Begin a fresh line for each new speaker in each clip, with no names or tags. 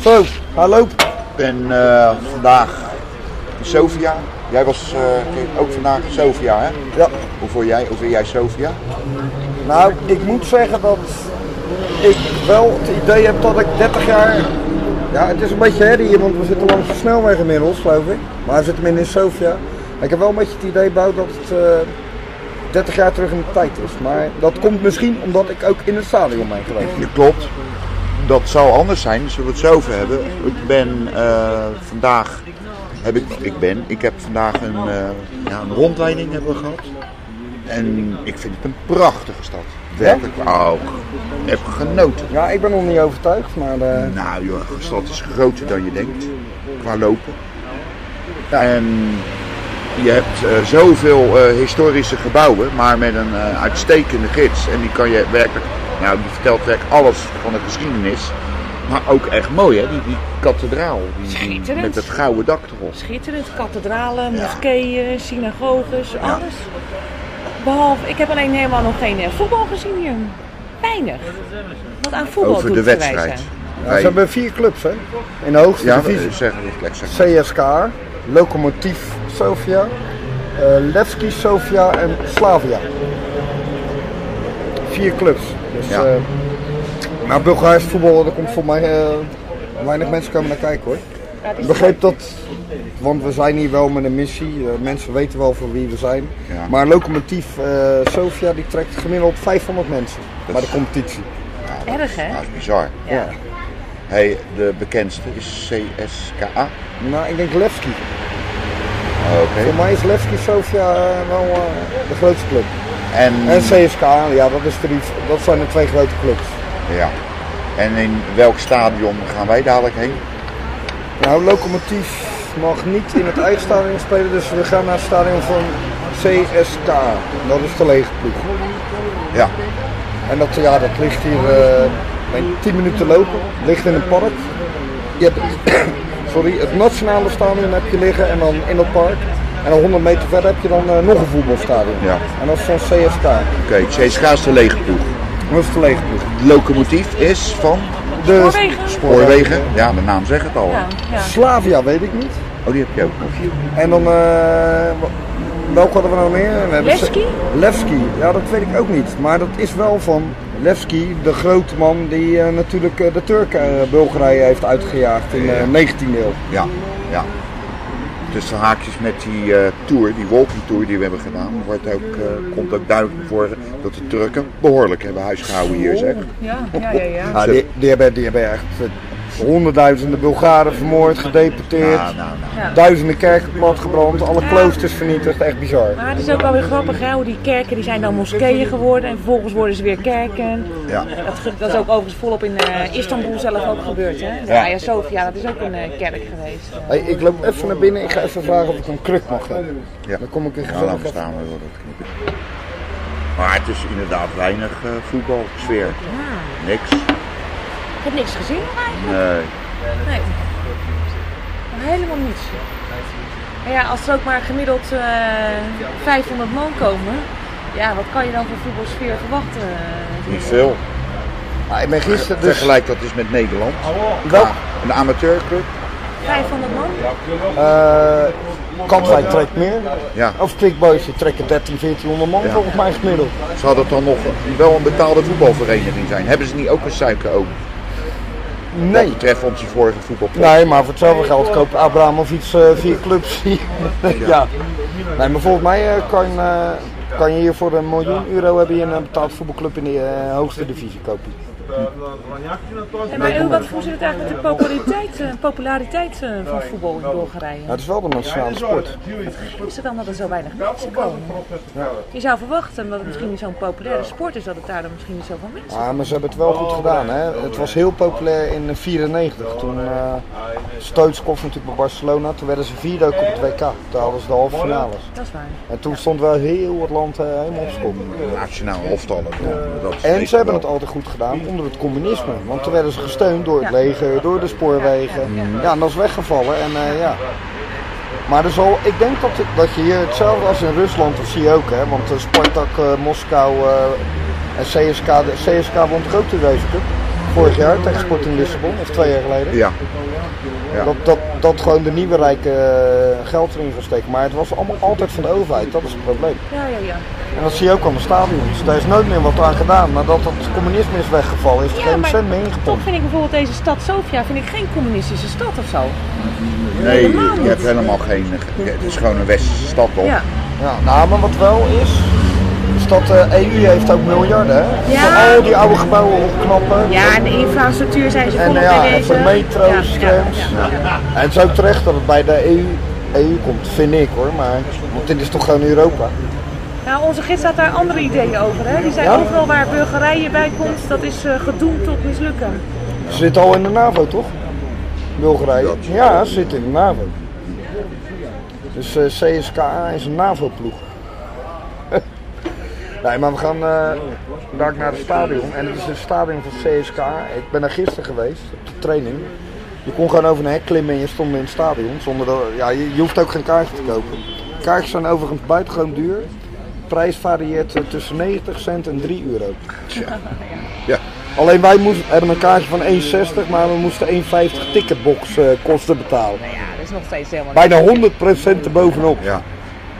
Zo, hallo. Ik ben eh, vandaag in Sofia. Jij was eh, ook vandaag in Sofia, hè?
Ja,
Hoe voel jij, hoe vind jij Sofia?
nou, ik moet zeggen dat ik wel het idee heb dat ik 30 jaar. Ja, het is een beetje herrie hier, want we zitten langs de snelweg inmiddels, geloof ik. Maar we zitten midden in Sofia. Ik heb wel een beetje het idee, Bouw, dat het eh, 30 jaar terug in de tijd is. Maar dat komt misschien omdat ik ook in het stadion ben geweest.
Je klopt. Dat zou anders zijn, zullen we het zo over hebben. Ik ben eh, vandaag, heb ik, ik ben, ik heb vandaag een, eh, ja, een rondleiding hebben we gehad. En ik vind het een prachtige stad. Werkelijk. Oh, ik heb genoten.
Ja, ik ben nog niet overtuigd, maar eh,
Nou joh, de stad is groter dan je denkt qua lopen. Ja, en je hebt eh, zoveel eh, historische gebouwen, maar met een eh, uitstekende gids. En die kan je werkelijk, nou die vertelt werkelijk alles van de geschiedenis. Maar ook echt mooi hè, die, die kathedraal. Die, die-
Schitterend.
met het gouden dak erop.
Schitterend, kathedralen, moskeeën, synagoges, alles. Behalve, ik heb alleen helemaal nog geen eh, voetbal gezien hier. Weinig. Wat aan voetbal
Over
doet
de
te wijzen.
wedstrijd.
ja, ze hebben vier clubs, hè? In de hoogste
ja,
divisie.
eh, zeg het gelijk. Zeg maar.
CSKA, Lokomotief Sofia, eh Levski Sofia en Slavia. Vier clubs. Dus,
Ja.
eh, maar Bulgaars voetbal, daar komt voor mij eh, weinig mensen komen naar kijken hoor. Ik begreep dat, want we zijn hier wel met een missie. eh, mensen weten wel voor wie we zijn.
Ja.
Maar Lokomotief eh, Sofia die trekt gemiddeld 500 mensen bij de competitie.
Erg hè?
Nou, dat is bizar.
Ja.
Hey, de bekendste is CSKA.
Nou, ik denk Levski.
Oké.
Voor mij is Levski Sofia eh, wel eh, de grootste club. En
En,
CSK, ja, dat, is drie, dat zijn de twee grote clubs.
ja. en in welk stadion gaan wij dadelijk heen?
Nou, Locomotief mag niet in het eigen stadion spelen, dus we gaan naar het stadion van CSK. Dat is de lege ploeg.
Ja,
En dat, ja, dat ligt hier eh, bij 10 minuten lopen, ligt in een park. Je hebt sorry, het nationale stadion heb je liggen en dan in dat park. En dan 100 meter verder heb je dan eh, nog een voetbalstadion.
Ja.
En dat is van CSK.
oké. CSKA is de legerploeg.
Dat is de lege ploeg.
Het locomotief is van
De
Spoorwegen.
Spoorwegen. Ja, de naam zegt het al. hè?
Ja, ja.
Slavia weet ik niet.
Oh, die heb je ook nog.
En dan, eh, welke hadden we nou meer? We hebben
Levski?
ze- Levski, ja dat weet ik ook niet. Maar dat is wel van Levski, de grote man die eh, natuurlijk eh, de Turken eh, Bulgarije heeft uitgejaagd in de 19e eeuw.
Ja, ja. Tussen haakjes met die eh, tour, die walking tour die we hebben gedaan, wordt ook, eh, komt ook duidelijk naar voren dat de Turken behoorlijk hebben huisgehouden hier, zeg.
Ja, ja, ja, ja.
Ah.
Ja, Ah, die, die, hebben, die hebben echt eh, honderdduizenden Bulgaren vermoord, gedeporteerd.
Nou, nou, nou.
Ja.
Duizenden kerken platgebrand, alle kloosters vernietigd, echt bizar.
Maar het is ook wel weer grappig, hè? hoe die kerken die zijn dan moskeeën geworden en vervolgens worden ze weer kerken.
Ja.
Dat, ge- dat is ook overigens volop in eh, Istanbul zelf ook gebeurd. Hè? De
Ja.
Hagia Sophia, dat is ook een eh, kerk geweest.
Hey, ik loop even naar binnen, ik ga even vragen of ik een kruk mag hebben.
Ja.
Dan kom ik in
Ja,
gezellig
dan verstaan we wel dat knippen. Maar het is inderdaad weinig eh, voetbalsfeer. Niks.
Ik heb niks gezien eigenlijk.
Nee.
Nee. Helemaal niets. En ja, als er ook maar gemiddeld eh, 500 man komen, ja, wat kan je dan voor voetbalsfeer verwachten?
Niet veel.
Ah, ik ben gisteren dus... Oh,
Vergelijk dat is met Nederland.
Wel-
Een amateurclub.
500 man?
Eh Katwijk trekt meer.
Ja.
Of Klikbootje trekken 13, 1400 man
Ja.
volgens mij gemiddeld.
Zou dat dan nog wel een betaalde voetbalvereniging zijn? Hebben ze niet ook een suikeroom? Wat
Nee.
betreft onze vorige voetbalploeg.
Nee, maar voor hetzelfde geld koopt Abramovic eh vier clubs hier. ja. Nee, maar volgens mij eh, kan, eh, kan je hier voor een miljoen euro hebben je een eh, betaald voetbalclub in de eh, hoogste divisie kopen.
En maar hoe, wat, hoe zit het eigenlijk met de populariteit, eh, populariteit eh, van voetbal in Bulgarije?
Dat is wel de nationale sport.
Is het dan dat er zo weinig mensen komen? Je zou verwachten, omdat het misschien zo'n populaire sport is, dat het daar dan misschien niet zoveel mensen
Ja, Ah, maar ze hebben het wel goed gedaan. Hè? Het was heel populair in 1994. Toen eh Stoitskov natuurlijk bij Barcelona. Toen werden ze vierde ook op het WK. Toen hadden ze de halve finales.
Dat is waar.
En toen stond wel heel het land eh, helemaal op school.
Nationaal elftal. dat- dat is
En ze
meestal
hebben het
wel.
altijd goed gedaan onder het communisme. Want toen werden ze gesteund door het leger, door de spoorwegen. Ja, en dat is weggevallen. En, eh, ja. Maar er zal, ik denk dat, het- dat je hier hetzelfde als in Rusland, dat zie je ook. Hè? Want eh, Spartak, eh, Moskou eh, en CSK, de, CSK won de grote reuzencup. vorig jaar tegen Sporting Lissabon, of twee jaar geleden.
Ja. Ja.
Dat, dat, dat gewoon de nieuwe rijken eh, geld erin gaan steken. Maar het was allemaal altijd van de overheid, dat is het probleem.
Ja, ja, ja.
En dat zie je ook aan de stadions. Daar is nooit meer wat aan gedaan. Nadat het communisme is weggevallen, is er geen cent meer
toch
ingepompt.
vind ik bijvoorbeeld deze stad Sofia vind ik geen communistische stad of zo.
Nee,
Helemaal
je hebt
niet.
helemaal geen. Het is gewoon een westerse stad toch?
Ja.
Ja, nou, maar wat wel is, is dat de EU heeft ook miljarden. Hè?
Ja.
Voor al die oude gebouwen opknappen.
Ja, en de infrastructuur zijn ze
En
volop
ja,
bij
en
deze.
voor metro's,
Ja, ja,
trams.
ja, ja.
En het is ook terecht dat het bij de E EU, EU komt, vind ik hoor. Maar, want dit is toch gewoon Europa.
Nou, onze gids had daar andere ideeën over. Hè? Die zei
Ja?
overal waar Bulgarije bij komt, dat is eh, gedoemd tot mislukken.
Ze zitten al in de NAVO, toch? Bulgarije.
Dat-
Ja, ze zitten in de NAVO. Dus eh, CSKA is een NAVO-ploeg. nee, maar we gaan eh daar naar het stadion. En het is het stadion van CSKA. Ik ben daar gisteren geweest, op de training. Je kon gewoon over een hek klimmen en je stond in het stadion. Zonder dat, ja, je, je hoeft ook geen kaartje te kopen. Kaartjes zijn overigens buitengewoon duur. prijs varieert eh, tussen 90 cent en 3 euro.
Ja.
Alleen wij moesten, hebben een kaartje van 1,60, maar we moesten 1,50 ticketbox eh, kosten betalen.
Nou ja, dat is nog steeds helemaal
Bijna 100% erbovenop.
ja.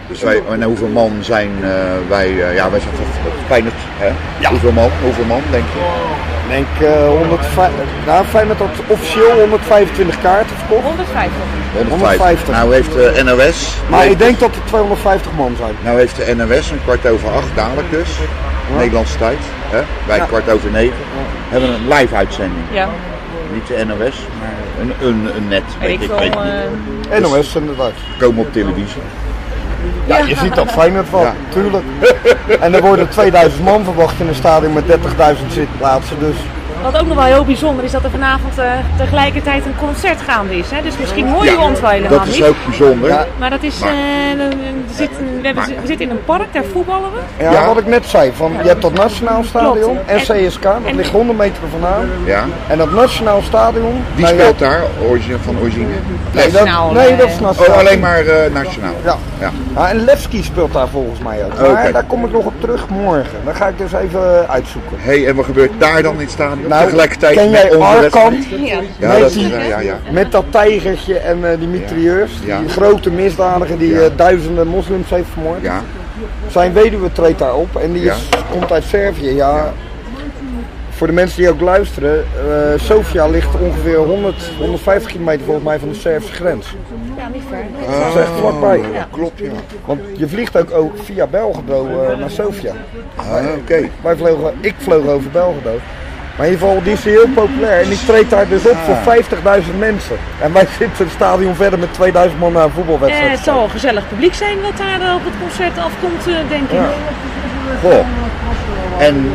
Dus wij, en hoeveel man zijn eh, wij? eh, ja, wij zijn toch Feyenoord, hè? Hoeveel man? Hoeveel man denk je?
Ik denk eh 105, nou, Feyenoord had officieel 125 kaarten verkocht.
150.
150.
Nou heeft de NOS.
Maar ik
heeft-
denk dat er 250 man zijn.
Nou heeft de NOS een kwart over acht, dadelijk dus, Nederlandse tijd, hè? bij
Ja.
kwart over negen, hebben we een live uitzending.
Ja,
Niet de NOS, maar een, een, een net, weet
weet
ik,
ik wel.
weet ik
eh,
niet.
NOS inderdaad.
Komen op televisie.
eh, Ja, je ziet dat Feyenoord wel,
Ja.
tuurlijk. En er worden 2000 man verwacht in een stadion met 30.000 zitplaatsen. Dus
Wat ook nog wel heel bijzonder is dat er vanavond eh, tegelijkertijd een concert gaande is. Hè? Dus misschien hoor je ons wel helemaal
dat is
niet.
ook bijzonder.
Ja.
Maar dat is, eh, dan- dan zit- we, hebben-
Maar-
we zitten in een park, daar voetballen we.
ja,
Ja.
wat ik net zei, van, je hebt dat Nationaal Stadion
Klopt.
en
En-
CSK, dat
en-
ligt 100 meter vandaan.
Ja.
En dat Nationaal Stadion...
Wie
nou ja,
speelt daar origine, van origine?
Nee,
Les.
dat,
Nationaal,
nee,
eh,
dat is nationaal.
Oh, alleen maar eh, nationaal.
Ja.
ja.
Ja, en Levski speelt daar volgens mij ook. Maar
Oké.
daar kom ik nog op terug morgen. Dan ga ik dus even uitzoeken.
hey, en wat gebeurt daar dan in het stadion?
Nou,
Tegelijkertijd
ken
met
jij
onze
Arkan?
wedstrijd?
Ja.
Ja, dat is,
Messi?
eh, ja, ja.
Met dat tijgertje en eh, die mitrailleurs,
Ja.
die grote misdadiger die
Ja.
eh, duizenden moslims heeft vermoord.
ja.
Zijn weduwe treedt daar op en die
Ja.
is, komt uit Servië. Ja. Voor de mensen die ook luisteren, eh, Sofia ligt ongeveer 100, 150 kilometer volgens mij van de Servische grens.
Ja, niet ver.
Dat is echt vlakbij.
Ja, klopt, ja.
Want je vliegt ook, ook via Belgrado eh, naar Sofia.
Ah, Oké.
Wij vlogen, ik vloog over Belgrado. Maar in ieder geval, die is heel populair en die treedt daar dus op voor 50.000 mensen. En wij zitten het stadion verder met 2000 man naar een
Eh,
voetbalwedstrijd.
het zal wel gezellig publiek zijn wat daar eh, op het concert afkomt, eh, denk ik.
Goh. Oh. En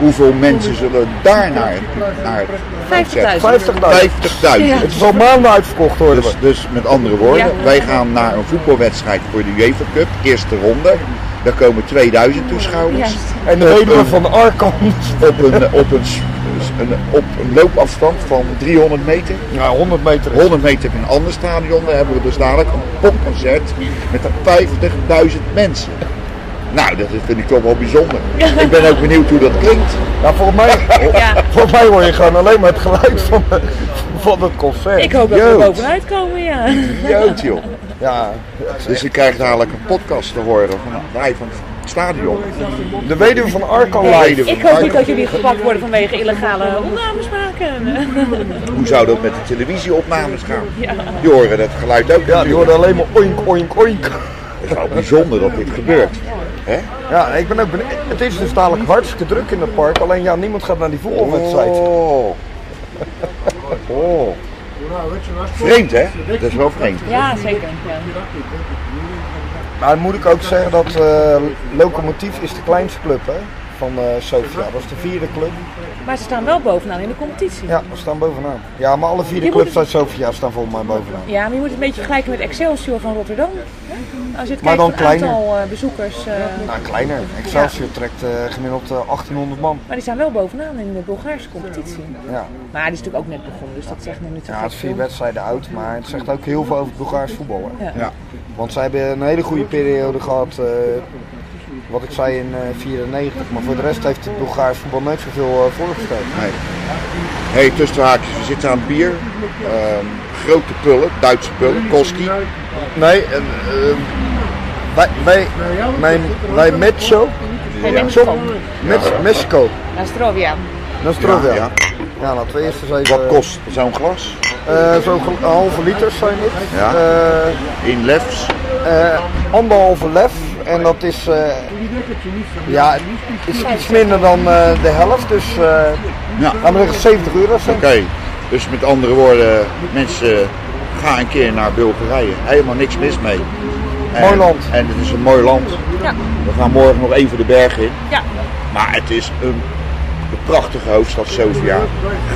hoeveel mensen zullen daar naar, naar het concert?
50.000.
50.000.
50.000.
Ja.
Het is al maanden uitverkocht hoor.
Dus, dus met andere woorden,
Ja.
wij gaan naar een voetbalwedstrijd voor de UEFA Cup, eerste ronde. Daar komen 2000 toeschouwers.
Juist.
En de weduwe van de Arkan.
Op een, op, een, s- een- op een loopafstand van 300 meter.
Ja, 100 meter.
100 meter heb je een ander stadion. Daar hebben we dus dadelijk een popconcert met 50.000 mensen. Nou, dat vind ik toch wel bijzonder. Ik ben ook benieuwd hoe dat klinkt.
Ja, Nou, volgens mij,
Ja.
volgens mij hoor je gewoon alleen maar het geluid van, de- van het concert.
Ik hoop dat we er
Jeugd.
bovenuit komen, ja.
Jeugd, joh.
Ja,
Dus ik krijg dadelijk een podcast te horen van wij van het stadion.
de weduwe van Arkan
Leiden.
Leiden.
Ik hoop niet dat jullie gepakt worden vanwege illegale opnames maken.
Hoe zou dat met de televisieopnames gaan? Die horen dat geluid ook.
Ja, die hoorde alleen maar oink, oink, oink.
Het is wel bijzonder dat dit gebeurt. Hè?
Ja, ik ben ook benieuwd. Het is dus dadelijk hartstikke druk in het park. Alleen ja, niemand gaat naar die voetbalwedstrijd.
Oh. oh. Vreemd, hè? Dat is wel vreemd.
Ja, zeker. Ja.
Maar moet ik ook zeggen dat eh Lokomotief is de kleinste club hè, van eh Sofia. Dat is de vierde club.
Maar ze staan wel bovenaan in de competitie.
Ja, we staan bovenaan. Ja, maar alle vierde
Je moet
clubs uit Sofia staan volgens mij bovenaan.
Ja, maar je moet het een beetje vergelijken met Excelsior van Rotterdam. Als je het
Maar
kijkt
dan
het aantal
kleiner.
eh, bezoekers. eh,
Nou, kleiner. Excelsior trekt eh, gemiddeld eh, 1800 man.
maar die staan wel bovenaan in de Bulgaarse competitie.
Ja.
Maar die is natuurlijk ook net begonnen, dus dat zegt nog niet zo
ja,
gek
het is vier
veel.
wedstrijden oud, maar het zegt ook heel veel over Bulgaars voetbal. Hè.
Ja.
Ja.
Want zij hebben een hele goede periode gehad. eh, wat ik zei in eh 94. Maar voor de rest heeft het Bulgaars voetbal nooit zoveel eh voorgesteld.
Nee. hey, tussen de haakjes, we zitten aan het bier. Ehm, grote pullen, Duitse pullen, Koski.
Nee, en, eh, wij, wij, mijn, wij Metso,
Ja.
Metso, Mets- Mexico,
Nostrovia.
Nostrovia.
Ja, ja.
Ja, nou twee eerste zijn
Wat kost zo'n glas?
eh, Zo'n gel- een halve liter zijn dit.
Ja.
Eh,
In lefs?
eh, anderhalve lef en dat is, eh, ja, is iets minder dan eh, de helft, dus eh
Ja.
laten we zeggen 70 euro. zijn.
Oké, dus met andere woorden, mensen, ga een keer naar Bulgarije. Helemaal niks mis mee. En,
Mooi land.
En het is een mooi land.
Ja.
We gaan morgen nog even de bergen in.
ja.
Maar het is een, een prachtige hoofdstad, Sofia.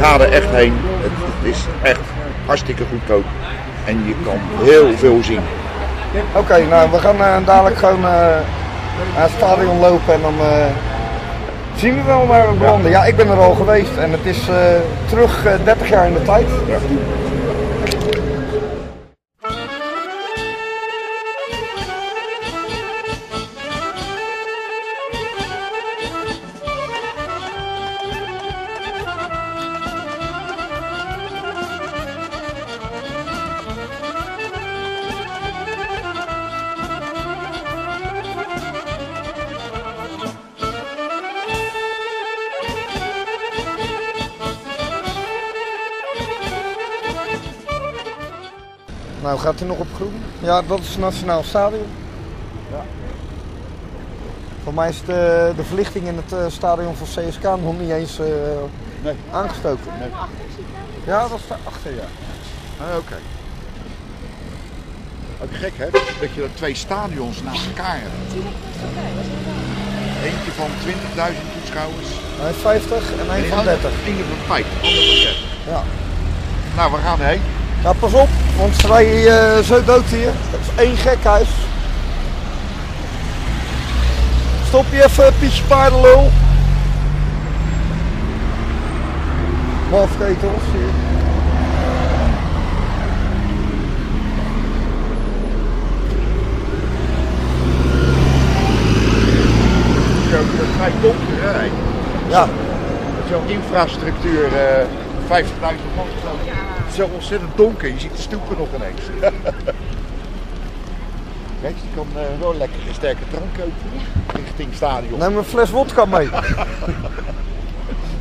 Ga er echt heen. Het, het is echt hartstikke goedkoop. En je kan heel veel zien.
Oké, nou we gaan eh, dadelijk gewoon eh, naar het stadion lopen en dan eh, zien we wel waar we belanden. Ja. ik ben er al geweest en het is eh, terug eh, 30 jaar in de tijd.
Ja.
Nou gaat hij nog op groen? Ja, dat is het Nationaal Stadion. Voor mij is de, de verlichting in het eh, stadion van CSK nog niet eens eh, aangestoken. Ja, dat is daarachter ja.
Oké. Ook gek hè, dat je twee stadions naast elkaar hebt. Eentje van 20.000 toeschouwers.
Hij heeft 50 en hij van 30.
Eentje van 50, ander van 30.
Ja.
Nou, we gaan heen.
Ja, pas op, want ze rijden eh, zo dood hier. Het is één gekhuis. Stop je even, Pietje Paardenlul. Mafketels hier.
Zo, dat is vrij donker hè. hé.
Ja,
Zo'n infrastructuur, eh 50.000 man. geloof ik. Het is zo ontzettend donker, je ziet de stoepen nog ineens. Kijk, je kan eh, wel lekker een sterke drank kopen richting stadion.
neem een fles wodka mee.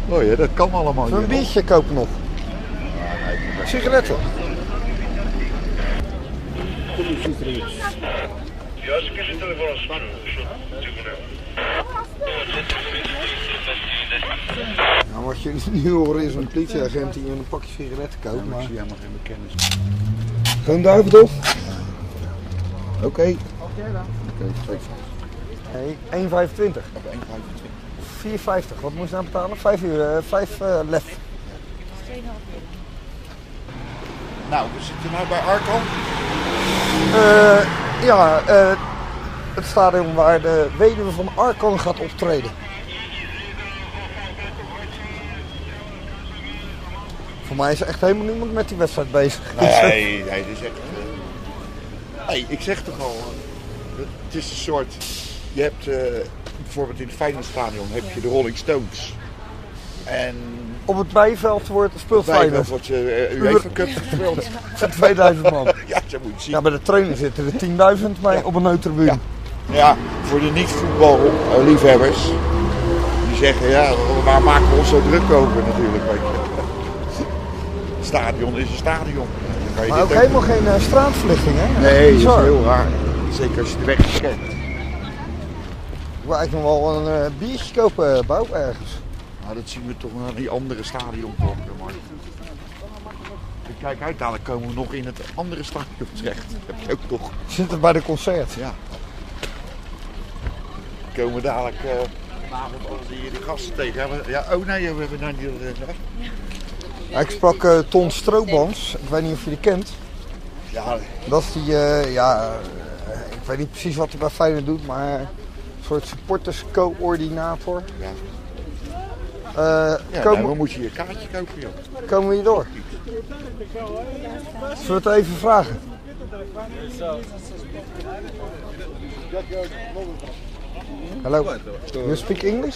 Mooi hè, dat kan allemaal
Een
hier.
biertje kopen nog. Sigaretten.
Ja, ze kunnen telefoon van
Nou, wat jullie nu horen is een politieagent die een pakje sigaretten koopt. Maar...
Ik zie helemaal geen bekende.
Gewoon duiven toch?
Oké. Oké, twee
Nee, 1,25.
op 1,25.
4,50. Wat moest je nou betalen? 5 uur, 5 lef.
Nou, we zitten nou bij Arkham.
Eh, ja, eh, het stadion waar de weduwe van Arkan gaat optreden. Voor mij is er echt helemaal niemand met die wedstrijd bezig.
Nee, nee, dit is echt. eh, nee, ik zeg toch al. eh, Het is een soort. Je hebt eh, bijvoorbeeld in het Feyenoordstadion heb je de Rolling Stones. En
Op het bijveld wordt speelt
wij wel
Feyenoord
wat je eh, UEFA Cup gespeeld.
voor 2000 man.
Ja, zo moet je het zien.
Ja, bij de trainer zitten er 10.000 mee op een neutribune.
Ja. Ja, voor de niet-voetballiefhebbers. Die zeggen, ja, waar maken we ons zo druk over natuurlijk, weet je. Stadion is een stadion. Dan kan je
Maar
dit
ook helemaal geen eh, straatverlichting, hè?
Nee, dat is
Bizar.
heel raar. Zeker als je de weg niet kent.
Ik wil eigenlijk nog wel een eh, biertje kopen, eh, Bouw, ergens.
Nou, dat zien we toch aan die andere stadion komen, maar... Ik Kijk uit, dadelijk komen we nog in het andere stadion terecht. Dat heb je ook nog.
Zit er bij de concert.
Ja. Dan komen we dadelijk eh vanavond al die, die gasten tegen. Ja, we- Ja, oh nee, we hebben naar die... eh,
Ja, ik sprak eh, Ton Stroobans, ik weet niet of je die kent.
Ja,
Dat is die, eh, ja, eh, ik weet niet precies wat hij bij Feyenoord doet, maar eh, een soort supporterscoördinator.
ja.
Eh,
Ja,
komen,
nee, we moeten je kaartje kopen, joh.
komen we hier door? Zullen we het even vragen?
Hello. You speak English?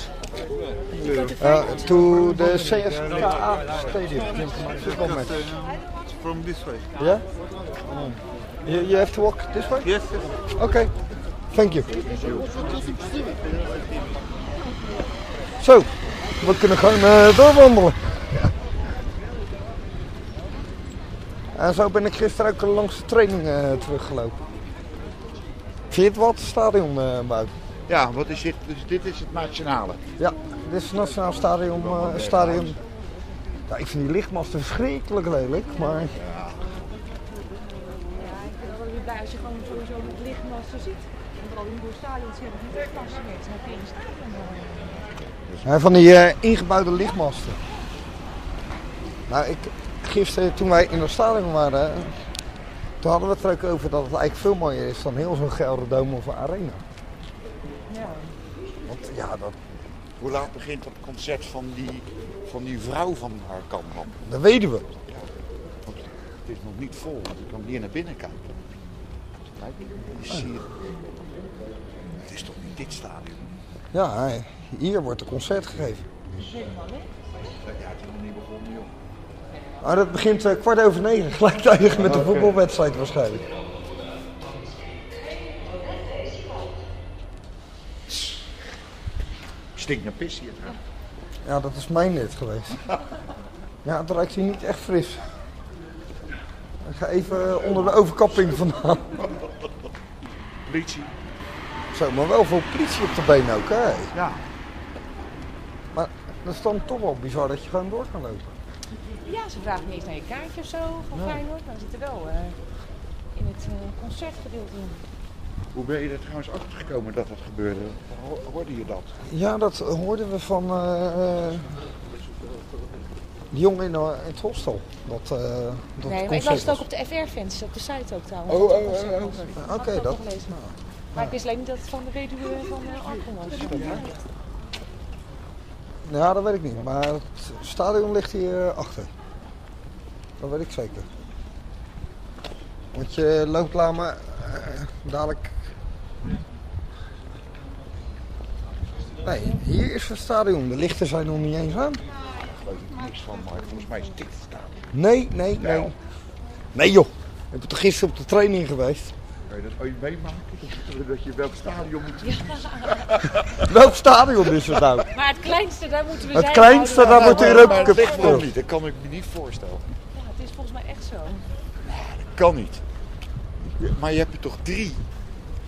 Uh, to the CSKA stadium. Football match.
From this way.
Yeah? You, you have to walk this way?
Yes, yes.
Okay, thank you. Zo, we kunnen gewoon eh, doorwandelen. En zo ben ik gisteren ook langs de training eh, teruggelopen. Vind je het Waterstadion, eh Bout?
Ja, wat is dit? Dus dit is het nationale.
Ja, dit is het Nationaal Stadion. eh, stadion. Ja, ik vind die lichtmasten verschrikkelijk lelijk, maar
Ja, ik ben er wel weer blij als je gewoon sowieso met lichtmassen ziet. Want al die stadions hebben die lichtmassen niet. Dan kun je in stadion wel.
Ja, van die eh, ingebouwde lichtmasten. Nou, ik, gisteren toen wij in het stadion waren, toen hadden we het er ook over dat het eigenlijk veel mooier is dan heel zo'n Gelderdoom of een arena.
Ja.
Want ja, dat,
Hoe laat begint dat concert van die, van die vrouw van haar kamp?
dat weten we.
Want het is nog niet vol, want ik kan hier naar binnen kijken. Kijk, je ziet het. Het is toch niet dit stadion?
Ja, hè, hier wordt een concert gegeven.
Ja, het is nog niet begonnen, joh.
Maar dat begint eh, kwart over negen, gelijktijdig met de voetbalwedstrijd waarschijnlijk.
Stinkt naar pis hier.
Ja, dat is mijn net geweest. Ja, het ruikt hier niet echt fris. Ik ga even eh, onder de overkapping vandaan.
Politie.
Zo, maar wel veel politie op de been ook, hè?
Ja.
Maar dat is dan toch wel bizar dat je gewoon door kan lopen.
ja, ze vragen niet eens naar je kaartje of zo van Feyenoord. Maar ze zitten wel eh, in het eh, concertgedeelte in.
Hoe ben je er trouwens achtergekomen dat dat gebeurde? Ho- Hoorde je dat?
Ja, dat hoorden we van eh, eh, die jongen in, eh, in het hostel. Dat, eh, dat
Nee, maar ik
concert
las het ook
was.
op de FR-fans, op de site ook trouwens.
Oh,
Dat het
oh,
concert
oh,
was.
oh.
Had
Oké,
ik ook
dat-
nog gelezen. Maar ik wist alleen niet dat het van de weduwe van eh Arkham was.
Ja, Nou, dat weet ik niet. Maar het stadion ligt hier eh, achter. Dat weet ik zeker. Want je loopt laat maar eh, dadelijk... Nee, hier is het stadion. De lichten zijn nog niet eens aan.
Daar geloof ik niks van, maar volgens mij is dit het stadion.
Nee, nee, nee.
Wel.
Nee joh, ik ben toch gisteren op de training geweest.
Kan je dat ooit meemaken? Dat je welk stadion moet
Welk stadion is het nou?
Maar het kleinste, daar moeten we
Het
zijn.
kleinste,
houden we
daar moet
wel.
u-
Maar-
Europa
maar
Cup
Dat ligt wel
gespeeld.
niet, dat kan ik me niet voorstellen.
Ja, het is volgens mij echt zo.
Kan niet. Maar je hebt er toch drie?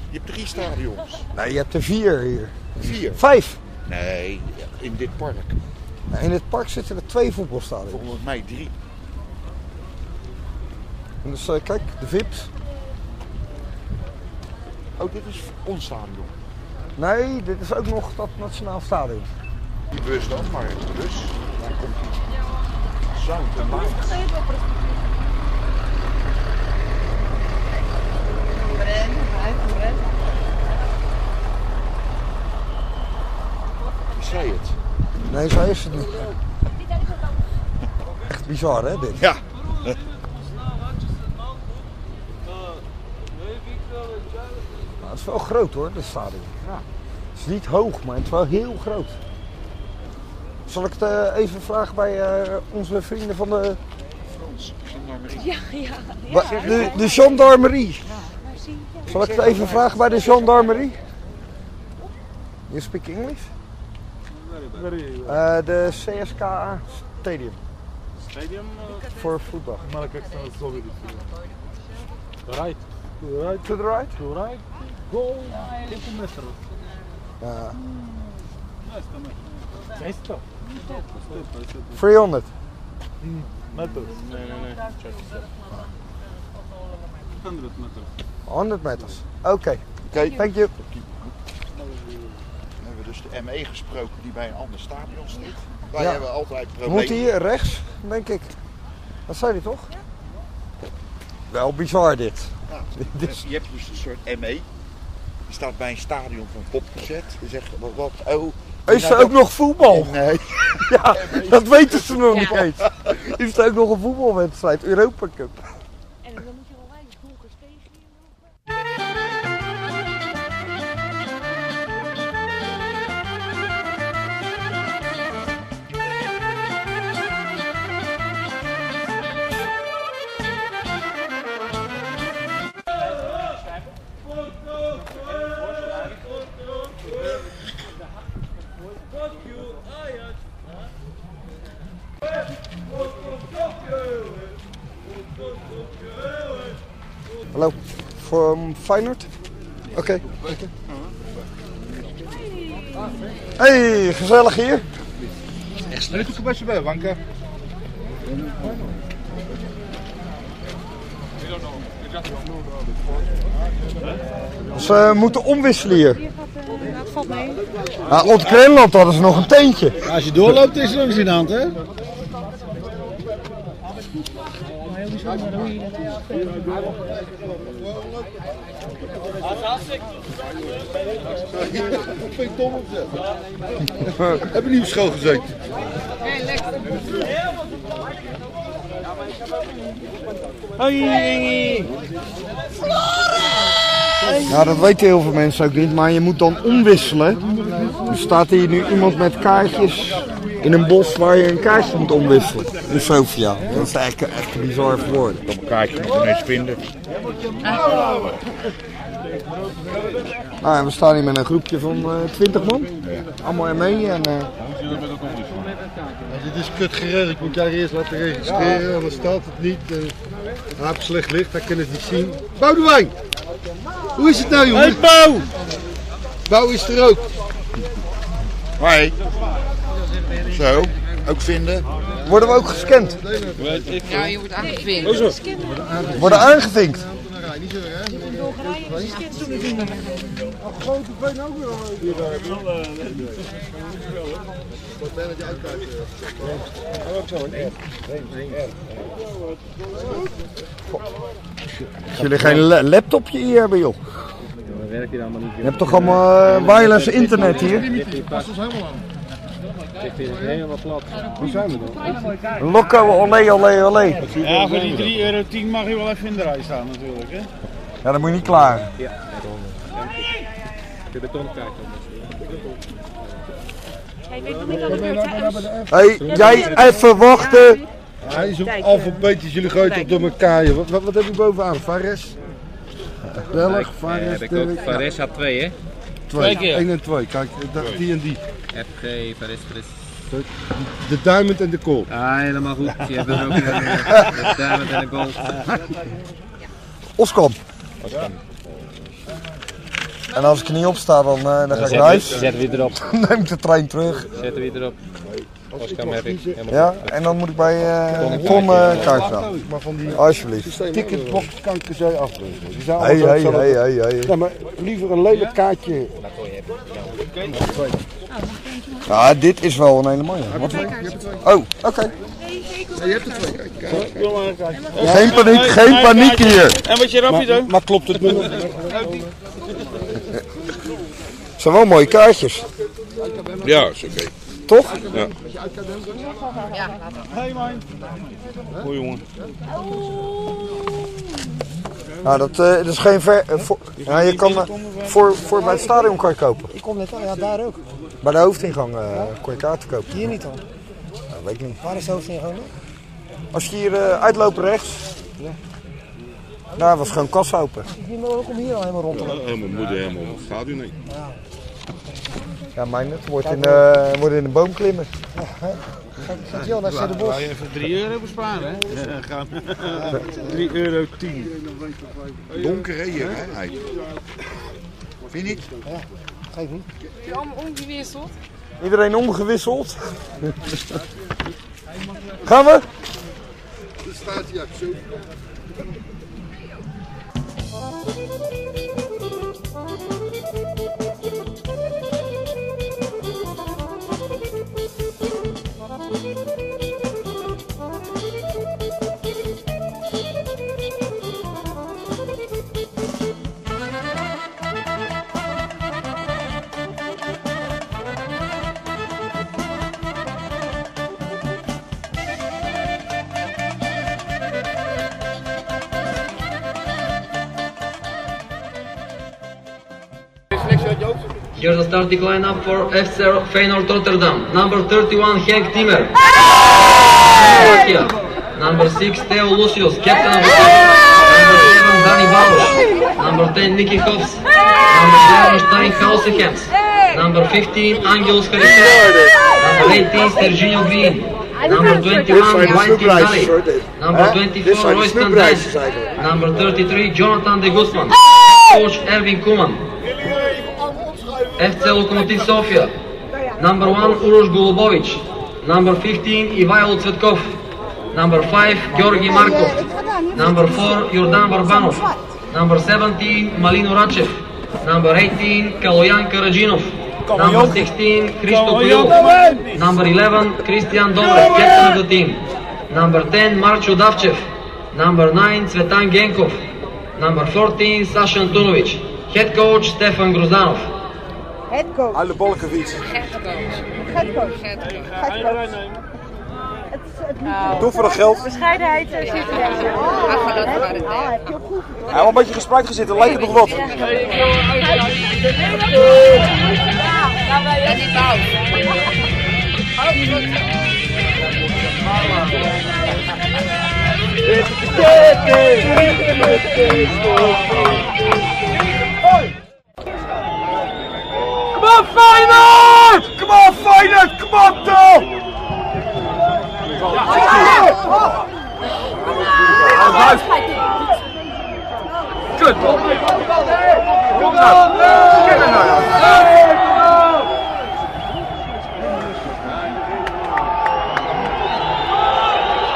Je hebt drie stadions.
Nee, je hebt er vier hier.
Vier?
Vijf.
Nee, in dit park.
Nou, In het park zitten er twee voetbalstadions.
Volgens mij drie.
En dus eh, kijk, de VIP's.
Oh, dit is ons stadion.
Nee, dit is ook nog dat Nationaal Stadion.
Die bus dan, maar de bus. Daar komt die. Sound en light. Ik zei het.
Nee, zo is het niet. Echt bizar hè dit.
Ja.
Maar het is wel groot hoor, dit stadion. Het is niet hoog, maar het is wel heel groot. Zal ik het eh, even vragen bij eh, onze vrienden van de,
Frans, gendarmerie.
Ja, ja,
Wa-
ja.
de, de gendarmerie?
Maar zie je,
Zal ik het even vragen bij de gendarmerie? You speak English?
Very
Eh, De CSKA Stadium
stadium. Uh,
voor voetbal.
maar как становится зовут? Right. Right.
To the right?
To right. Go. 10 метров.
Ja.
300?
300.
Метров. Не, не, не. 100 метров.
100 meters. Oké,
Oké,
thank you.
dan hebben we dus de ME gesproken die bij een ander stadion zit. Wij
Ja.
hebben altijd problemen.
Moet hier rechts, denk ik. Dat zei hij toch? Wel bizar dit.
Ja.
Dit is-
Je hebt dus een soort ME. Die staat bij een stadion van popgezet. Die zegt, wat, wat oh...
Is
nou,
er ook nog voetbal?
dat- Nee.
Ja, dat weten ze nog
Ja.
niet eens. Is er ook nog een voetbalwedstrijd? Europa Cup.
en dan moet je wel weinig donkers tegen.
Thank
Hallo, voor ehm, Feyenoord? Oké. Hey, gezellig hier.
Leuk dat je bij Wanka.
Ze moeten omwisselen hier.
Hier gaat eh, nou, het valt mee.
Nou, op Greenland hadden ze nog een teentje.
Als je doorloopt is er nog eens in de hand, hè? Ik ben dom opzet. Heb je niet schoongezet?
Ja, Nou, dat weten heel veel mensen ook niet, maar je moet dan omwisselen. Er staat hier nu iemand met kaartjes in een bos waar je een kaartje moet omwisselen. In Sofia. Dat is eigenlijk echt bizar voor woorden.
Op een kaartje moet je ineens vinden.
Nou, en we staan hier met een groepje van eh 20 man. Allemaal in mee en... eh,
Dit is kut geregeld. Ik moet jij eerst laten registreren, anders staat het niet. Eh, Hij heeft slecht licht, hij kan het niet zien. Boudewijn! Hoe is het nou, jongen? Hey, Bouw! Bouw is er ook.
Hoi. Zo, ook vinden.
Worden we ook gescand?
Ja, je wordt aangedwongen.
Worden aangevinkt? Dat jullie geen la- laptopje hier hebben, joh.
Dan werk je dan maar niet.
Je hebt toch allemaal eh, wireless internet hier?
Het is helemaal plat. Hoe zijn we dan?
Lokko, olé, olé, olé.
Ja, voor die 3,10 euro mag je wel even in de rij staan natuurlijk. Hè?
Ja, dan moet je niet klaar.
De betonkaart.
Hij weet nog niet aan de beurt. hè? Us.
Hé, jij even wachten.
Hij is op alfabetisch, jullie gooien het door elkaar. joh. Wat, wat, wat heb je bovenaan? Vares? Belg, Vares,
Heb ik ook
Dirk.
Paris had 2 hè?
Twee
keer.
1 en 2, kijk, ik dacht die en die.
FG, Paris, Paris.
De diamond en de kool.
Ah, helemaal goed. Je hebt er ook een dame en een goal.
Oscom. En als ik er niet op sta, dan, eh, dan ga ik naar huis.
Zetten we erop.
Dan neem ik de trein terug.
Zetten we erop. Oscar heb ik. Helemaal
Ja, en dan moet ik bij eh Tom eh kaart gaan.
Maar van die
Alsjeblieft.
ticketbox kan ik er zo afbreken. Die zijn
Hé,
altijd
hé,
zo-
hé, hé, hé.
Nee, maar liever een lelijk kaartje.
Ja, dit is wel een hele mooie. Wat? Oh, oké. Geen paniek, geen paniek hier.
En wat je rapje zo?
Maar klopt het nummer?
Het zijn wel mooie kaartjes,
Ja, is oké.
toch?
Goeie jongen.
Nou, dat, eh, dat is geen ver... eh, voor, ja, je kan eh, voor, voor bij het stadion kan je kopen.
Ik kom net al, ja, daar ook.
Bij de hoofdingang eh kon je kaarten kopen.
Hier niet dan.
Ja, weet ik niet.
Waar is de hoofdingang dan?
Als je hier eh uitloopt rechts... Nou, was gewoon kas open.
Die mogen om hier al helemaal rond.
Oh,
mijn moeder helemaal op het stadion heen.
Ja, mijn net. Wordt in, eh wordt in een boom klimmen.
Gaat Jan naar de Bos.
Even 3 euro besparen, hè? 3 euro 10.
Donker hè, hier, hè? Hij. Vind je niet?
Geef niet.
Allemaal omgewisseld.
Iedereen omgewisseld. Gaan we?
staat hier zo.
Here's the starting lineup for FC Feyenoord Rotterdam. Number 31, Henk Timmer. Slovakia. Number 6, Theo Lucius, captain of the team. Number 7, Danny Balush. Number 10, Nicky Hobbs. Number 11, Stein Hausehans. Number 15, Angelos Harikari. Number 18, Serginho Green. Number 21, White Kid Dali. Number 24, Royston Dance.
eigenlijk.
Number 33, Jonathan de Guzman. Coach Erwin Koeman. FC Lokomotiv Sofia. Number 1, Uroš Golubović. Number 15, Ivajlo Cvetkov. Number 5, Georgi Markov. Number 4, Jordan Barbanov. Number 17, Malino Račev. Number 18, Kalojan Karadžinov. Number 16, Kristo Kojovo. Number 11, Christian Dobrev, captain of the team. Number 10, Marcho Davčev. Number 9, Cvetan Genkov. Number 14, Saša Antunović. Head coach Stefan Grozdanov.
Headcoach.
Uit de Bolkeviet.
Headcoach. Headcoach. Het, het liedje.
Doe voor dat geld.
Bescheidenheid eh, zit er echt in.
Ah, heb je opgeoefend?
Hij wel een beetje gespreid gezeten, lijkt het nog wat.
Kom op Feyenoord! Kom op Feyenoord! Kom op dan! Kut! Kom dan! Ken er nou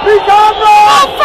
Wie kan dat?